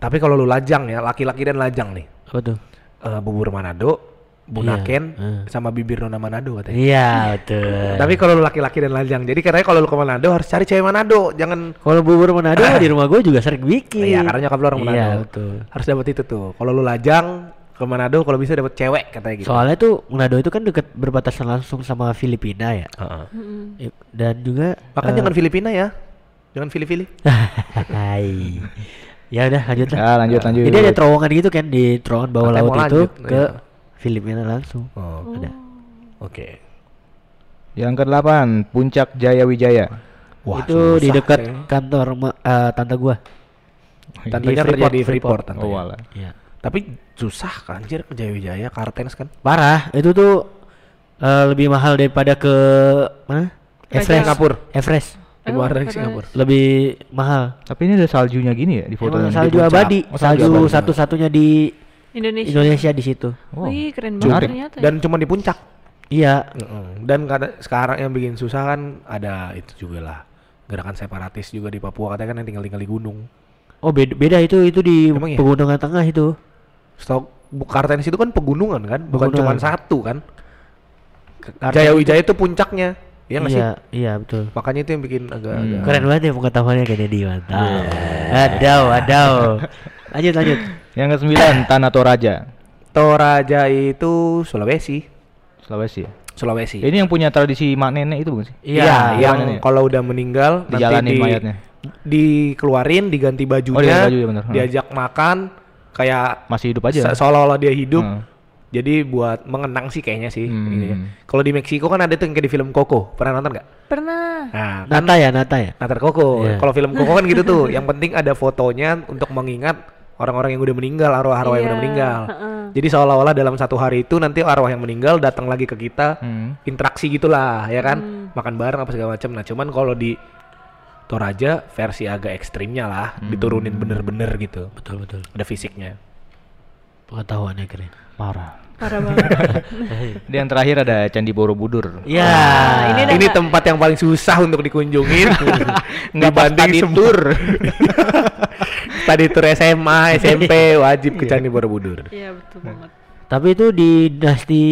Tapi kalau lu lajang ya, laki-laki dan lajang nih.
Apa tuh?
Eh, bubur Manado, Bunaken,
Iya, eh.
sama bibir nona Manado katanya.
Iya, betul.
Tapi kalau lu laki-laki dan lajang, jadi katanya kalau lu ke Manado harus cari cewek Manado, jangan
Kalau bubur Manado
*laughs*
di rumah gua juga sering bikin.
Iya, karena nyokap lu orang Manado.
Iya, betul.
Harus dapat itu tuh. Kalau lu lajang ke Manado kalau bisa dapat cewek katanya gitu.
Soalnya tuh Manado itu kan dekat berbatasan langsung sama Filipina ya.
Heeh.
Mm-mm.
Dan juga
Maka jangan Filipina ya. Jangan pilih-pilih.
*laughs* Hai. ya udah lanjut lah.
Ya, lanjut, lanjut.
Jadi ada terowongan gitu kan di terowongan bawah
Katanya
laut
mau
itu
lanjut,
ke
iya.
Filipina langsung.
Oh,
Ada.
oke.
Yang kedelapan, Puncak Jaya Wijaya.
Oh, itu
susah ya.
di dekat
kayaknya.
kantor ma- eh, tante gua.
Tantenya
di
kerja
Freeport,
di Freeport,
Freeport.
tantenya.
Oh, walah.
Oh, Iya.
Tapi susah kan anjir ke Jaya-Jaya, Kartens kan.
Parah, itu tuh eh, lebih mahal daripada ke mana?
Raja-
Everest.
Singapura.
Everest.
Di luar dari
pernah.
Singapura.
Lebih mahal.
Tapi ini ada saljunya gini ya di foto
Emang
yang
salju
di puncak.
abadi,
Oh,
salju
abadi.
satu-satunya di
Indonesia.
Indonesia di situ.
Wow.
Wih, keren banget
Menarik.
ternyata. ya.
Dan cuma di puncak.
Iya,
Mm-mm. Dan kada- sekarang yang bikin susah kan ada itu juga lah gerakan separatis juga di Papua katanya kan yang tinggal tinggal di gunung.
Oh beda, beda itu itu di
Emang iya?
pegunungan tengah itu.
Stok Kartens itu kan pegunungan kan, bukan cuma
Pegunungan.
satu kan.
Kartens
Jaya Wijaya itu puncaknya. Iya nggak
iya,
sih?
iya betul.
Makanya itu yang bikin agak agak
Keren banget ya pengetahuannya Kennedy
Iya.
mantap. Adau, adau. Ah. Lanjut, lanjut.
Yang kesembilan Tanah Toraja,
Toraja itu Sulawesi.
Sulawesi. ya?
Sulawesi.
Ya, Ini yang punya tradisi mak nenek itu bukan sih?
Iya, yang
gimana nih?
kalau udah meninggal
Dijalanin
nanti di,
mayatnya.
dikeluarin, diganti bajunya,
baju, ya bener. Hmm.
diajak makan, kayak
Masih hidup aja.
se- seolah-olah dia hidup.
Hmm.
Jadi buat mengenang sih kayaknya sih.
Hmm.
ininya. Kalau di Meksiko kan ada tuh yang kayak di film Coco, pernah nonton nggak?
Pernah.
Nah, kan
Nata ya, Nata ya.
Natar Koko.
Iya.
Kalau film Koko kan gitu
*laughs*
tuh, yang penting ada fotonya untuk mengingat orang-orang yang udah meninggal, arwah-arwah yang udah
Iya,
meninggal.
heeh.
Jadi seolah-olah dalam satu hari itu nanti arwah yang meninggal datang lagi ke kita,
Hmm.
interaksi gitulah, ya kan?
Hmm.
Makan bareng apa segala macam. Nah, cuman kalau di Toraja versi agak ekstrimnya lah, diturunin bener-bener gitu.
Hmm. Betul, betul.
Ada fisiknya.
Pengetahuannya keren.
Parah.
Parah banget.
Dan yang terakhir ada Candi Borobudur.
Iya.
Ya.
ini udah
Ah, Ini
nggak-
tempat yang paling susah untuk dikunjungin
*laughs*
dibanding
*laughs*
semur. Tadi tour SMA,
Iya.
SMP wajib ke Candi Borobudur.
Iya betul banget.
Tapi itu di dinasti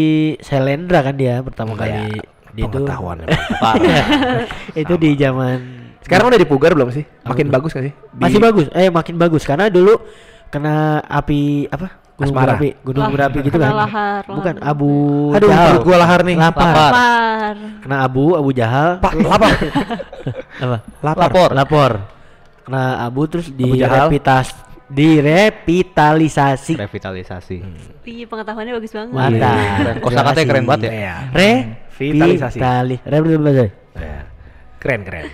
Selendra kan dia pertama
Kayak
kali dia itu.
ya, Pengetahuan. Iya.
*laughs* itu di zaman
Sekarang udah dipugar belum sih? Makin bagus gak sih? Di-
masih bagus. Eh makin bagus karena dulu kena api apa? Gunung
Asmara.
berapi, gunung
Lah,
berapi gitu
kena
kan.
lahar,
Bukan
lahar.
abu
Aduh,
jahal.
perut gua lahar nih.
Lapar.
Lapar.
Par.
Kena abu, abu jahal.
Pak, lapar.
*laughs* Apa?
Lapar.
Lapor. Kena abu terus
Abu jahal.
direpitas direvitalisasi.
Revitalisasi.
Iya pengetahuannya bagus banget.
Mantap.
Keren. Kosakatanya keren banget ya.
Iya. Vitalisasi.
Revitalisasi. Revitalisasi.
Iya. Keren
*laughs*
keren.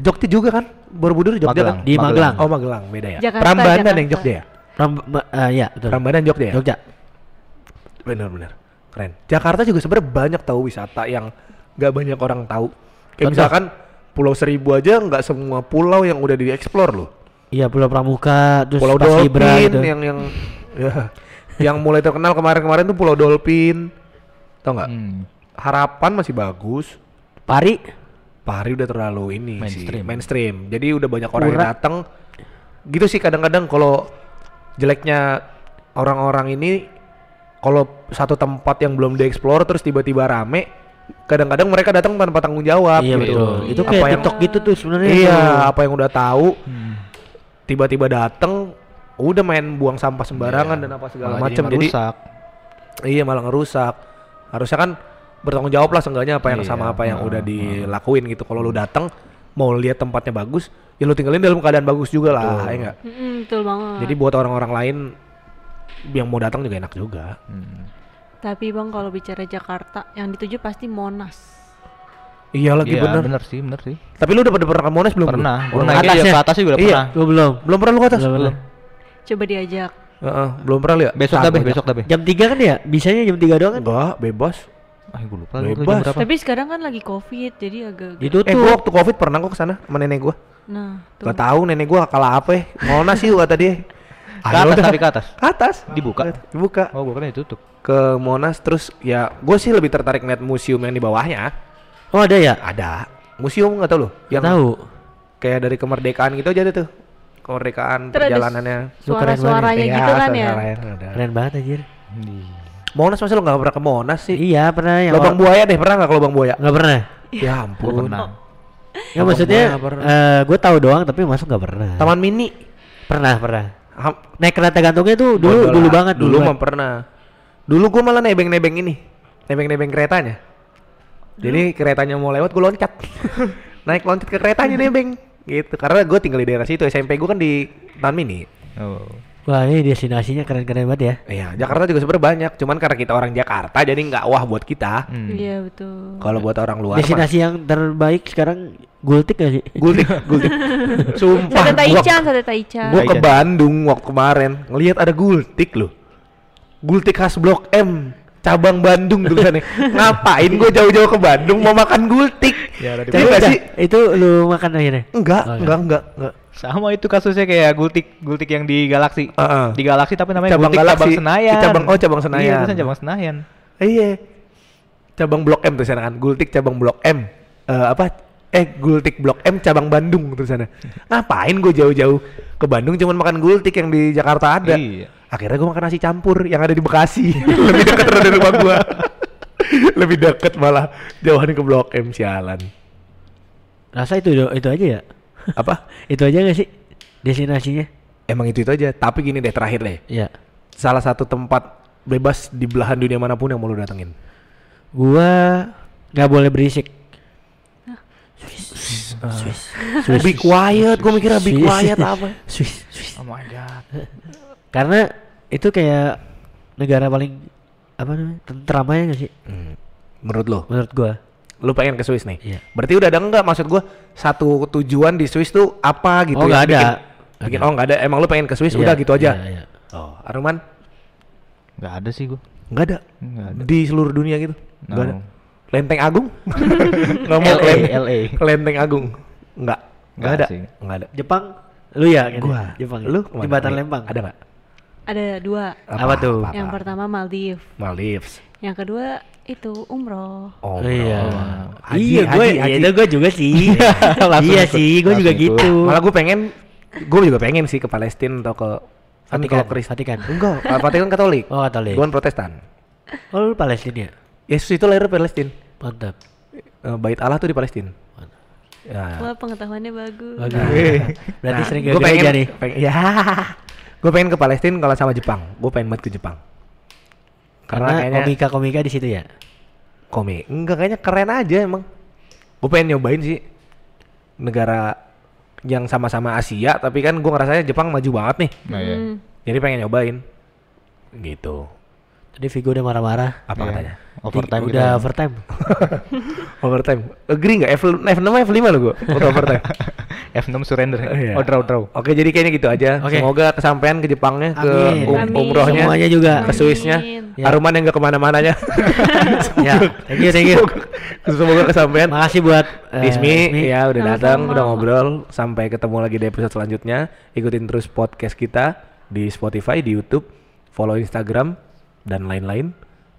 Jogja juga kan? Borobudur Jogja
Magelang.
kan?
Di Magelang.
Oh Magelang beda ya.
Jakarta,
Prambanan
Jakarta.
yang Jogja ya?
Ram- ma- eh, ya, betul.
Prambanan Jogja ya?
Jogja.
Bener bener. Keren. Jakarta juga sebenarnya banyak tahu wisata yang nggak banyak orang tahu. Kayak
Contoh?
misalkan Pulau Seribu aja nggak semua pulau yang udah dieksplor loh.
Iya, Pulau Pramuka, terus
Pulau
Pas
Dolphin
Kibra gitu.
yang yang ya, yang mulai terkenal kemarin-kemarin tuh Pulau Dolphin. Tau nggak?
Hmm.
Harapan masih bagus.
Pari.
Pari udah terlalu ini sih
Mainstream.
mainstream. Jadi udah banyak orang yang
Pura.
datang. Gitu sih kadang-kadang kalau jeleknya orang-orang ini kalau satu tempat yang belum dieksplor terus tiba-tiba rame, kadang-kadang mereka datang tanpa tanggung jawab gitu.
Iya, betul. Itu
Apa
kayak
yang-
TikTok gitu tuh sebenarnya. Hmm.
Iya, apa yang udah tahu tiba-tiba datang udah main buang sampah sembarangan
Iya.
dan apa segala
Malah
macam. Jadi
merusak.
Iya malah ngerusak. Harusnya kan bertanggung jawab lah seenggaknya apa yang
Iya,
sama apa yang
heeh,
udah dilakuin gitu. Kalau lu datang mau lihat tempatnya bagus, ya lu tinggalin dalam keadaan bagus juga lah, ya enggak?
Mm-mm, betul banget.
Jadi buat orang-orang lain yang mau datang juga enak juga.
Hmm.
Tapi bang kalau bicara Jakarta, yang dituju pasti Monas.
Iya lagi
Iya,
bener.
bener sih, bener sih.
Tapi lu udah pada pernah ke Monas belum? lu?
Pernah. Gua
Belum.
naiknya
Atasnya?
juga ke atas juga udah
Iya.
pernah.
Gua belum.
Belum pernah lu ke atas?
Belum pernah.
Coba diajak.
Heeh, belum pernah lu ya?
Besok dah, Beh, besok dah, Beh.
Jam 3 kan ya? Bisanya jam 3 doang kan?
Enggak, bebas.
Ah, gue lupa lagi waktu
Bebas.
jam berapa.
Tapi sekarang kan lagi covid, jadi agak.
Itu
Eh, gua
tuh.
waktu Covid pernah kok ke sana sama nenek gua.
Nah, tuh.
Gak tahu nenek gua kalah apa ya. Monas sih kata dia.
Ke
Ayo
atas
dah.
tapi ke atas.
Ke atas.
Dibuka.
Dibuka.
Oh, gua kira ditutup.
ke Monas terus ya gue sih lebih tertarik lihat museum yang di bawahnya
Oh, ada ya?
ada museum nggak tau loh yang
Yang tahu.
kayak dari kemerdekaan gitu aja ada tuh kemerdekaan
Terus ada
perjalanannya
Lu keren
Suara-suaranya gitu kan ya.
saudara yang ada.
Keren banget anjir.
Monas masa lo nggak pernah ke Monas sih
Iya, pernah yang
lubang
orang-
buaya deh pernah nggak ke lubang buaya
Nggak pernah.
ya
Gua
ampun
pernah.
Ya
Lubang
maksudnya
buaya nggak pernah.
eh gue tahu doang tapi masuk nggak pernah.
taman mini
Pernah, pernah.
Ham-
Naik kereta gantungnya tuh dulu
Gondola.
dulu banget
dulu mah
banget.
pernah dulu gue malah nebeng-nebeng ini nebeng-nebeng keretanya jadi keretanya mau lewat gue loncat *laughs* naik loncat ke keretanya nebeng gitu karena gue tinggal di daerah situ SMP gue kan di Taman Mini
Oh.
Wah, ini destinasinya keren-keren banget ya.
Iya, Jakarta juga sebenarnya banyak. Cuman karena kita orang Jakarta jadi nggak wah buat kita.
Hmm.
Iya betul.
Kalau buat orang luar mah
Destinasi yang terbaik sekarang Gultik gak sih? *laughs*
gultik, gultik. Sumpah,
Sate taichan,
gua,
sate taichan.
gua ke Bandung waktu kemarin ngelihat ada gultik loh. Gultik khas Blok M, cabang Bandung tulisannya. Ngapain gue jauh-jauh ke Bandung mau makan gultik?
Ya, ada di
Iya
Tapi
nggak
udah,
sih?
Itu lu makan akhirnya.
Enggak,
Oh,
enggak, enggak, enggak.
Sama itu kasusnya kayak Gultik, Gultik yang di Galaksi.
Heeh.
Di Galaksi tapi namanya
Cabang
Gultik
Galaksi.
cabang Senayan.
Cabang- oh, cabang
Iya,
Senayan.
bukan cabang Senayan.
Eh, Iya. Cabang Blok M tulisannya kan. Gultik cabang Blok M. Eh apa? Eh Gultik Blok M cabang Bandung tulisannya. Ngapain gue jauh-jauh ke Bandung cuman makan gultik yang di Jakarta ada.
Iya.
Akhirnya gue makan nasi campur yang ada di Bekasi. Lebih dekat dari rumah gue. lebih deket malah jauhan ke blok M sialan
Rasa itu do- itu aja ya.
apa
*laughs* itu aja gak sih destinasinya?
emang itu itu aja tapi gini deh terakhir deh
Ya.
salah satu tempat bebas di belahan dunia manapun yang mau lu datengin
Gua nggak boleh berisik.
be quiet gue mikirnya be
Swiss.
quiet apa
Swiss, Swiss.
Oh my god.
Karena itu kayak negara paling apa namanya? Tentramanya gak sih
Hmm. menurut lo
menurut gua?
lu pengen ke Swiss nih
Iya.
berarti udah ada enggak maksud gue satu tujuan di Swiss tuh apa gitu
Oh,
yang
nggak ada.
bikin, bikin
Ada.
oh nggak ada emang lu pengen ke Swiss
Iya,
udah gitu aja
iya, iya.
oh Aruman
Nggak ada sih gua.
nggak ada
Nggak ada.
di seluruh dunia gitu
No.
nggak ada Lenteng
*laughs*
Agung nggak mau
LA,
Lenteng-
LA.
Lenteng Agung nggak nggak
Nggak
ada
sih.
nggak ada
Jepang, lu ya? Ken?
gua
Jepang.
lu kemana?
jembatan
Nih,
Lempang.
ada nggak
Ada dua.
Apa tuh?
Yang pertama Maldives,
Maldives
yang kedua itu umroh.
oh
iya.
Haji,
iya, gue,
haji, haji.
iya, itu gue juga
*laughs*
sih.
Langsung
iya
ikut.
sih, gue juga
Langsung ikut.
gitu.
malah gue pengen gue juga pengen sih ke Palestina atau ke tapi
Vatikan,
kalau Kristen
Vatikan.
enggak Pak Vatikan Katolik
Oh, Katolik.
Gue Protestan
Oh, lu Palestina ya?
Yesus itu lahir di Palestina
Mantap.
Eh, bait Allah tuh di Palestina ya.
Wah pengetahuannya bagus.
Bagus. *laughs* Berarti
Nah,
sering
gua
gagal
pengen,
aja nih.
pengen- ya gue pengen ke Palestina kalau sama Jepang gue pengen banget ke Jepang karena,
Karena
kayaknya
komika-komika di situ ya.
komik enggak kayaknya keren aja emang gue pengen nyobain sih negara yang sama-sama Asia tapi kan gue ngerasanya Jepang maju banget nih
Nah, ya.
Hmm.
jadi pengen nyobain gitu
Tadi Vigo udah marah-marah.
apa
Iya.
katanya
Overtime
gitu ya?
udah
*laughs*
kita.
overtime.
overtime agree nggak F F6 F5 lo gue untuk overtime
F6 surrender.
Iya.
Oh, draw draw.
Oke jadi kayaknya gitu aja.
Oke.
Semoga kesampaian ke Jepangnya, ke
Amin.
um-
Amin.
umrohnya,
Semuanya juga.
ke Swissnya,
Amin.
Ya.
Aruman yang gak
*laughs*
kemana-mananya.
ya, thank you,
*laughs*
thank you.
Semoga kesampaian.
Makasih buat eh,
Ismi, ya udah
Sama-sama.
datang, udah ngobrol. Sampai ketemu lagi di episode selanjutnya. Ikutin terus podcast kita di Spotify, di YouTube, follow Instagram dan lain-lain,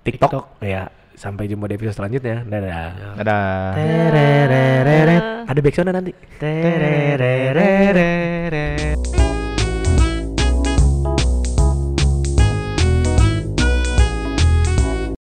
TikTok.
TikTok. Ya.
Ya, sampai jumpa di episode selanjutnya. Dadah.
Dadah.
Tererereret,
Ada backsoundnya nanti.
tererereret.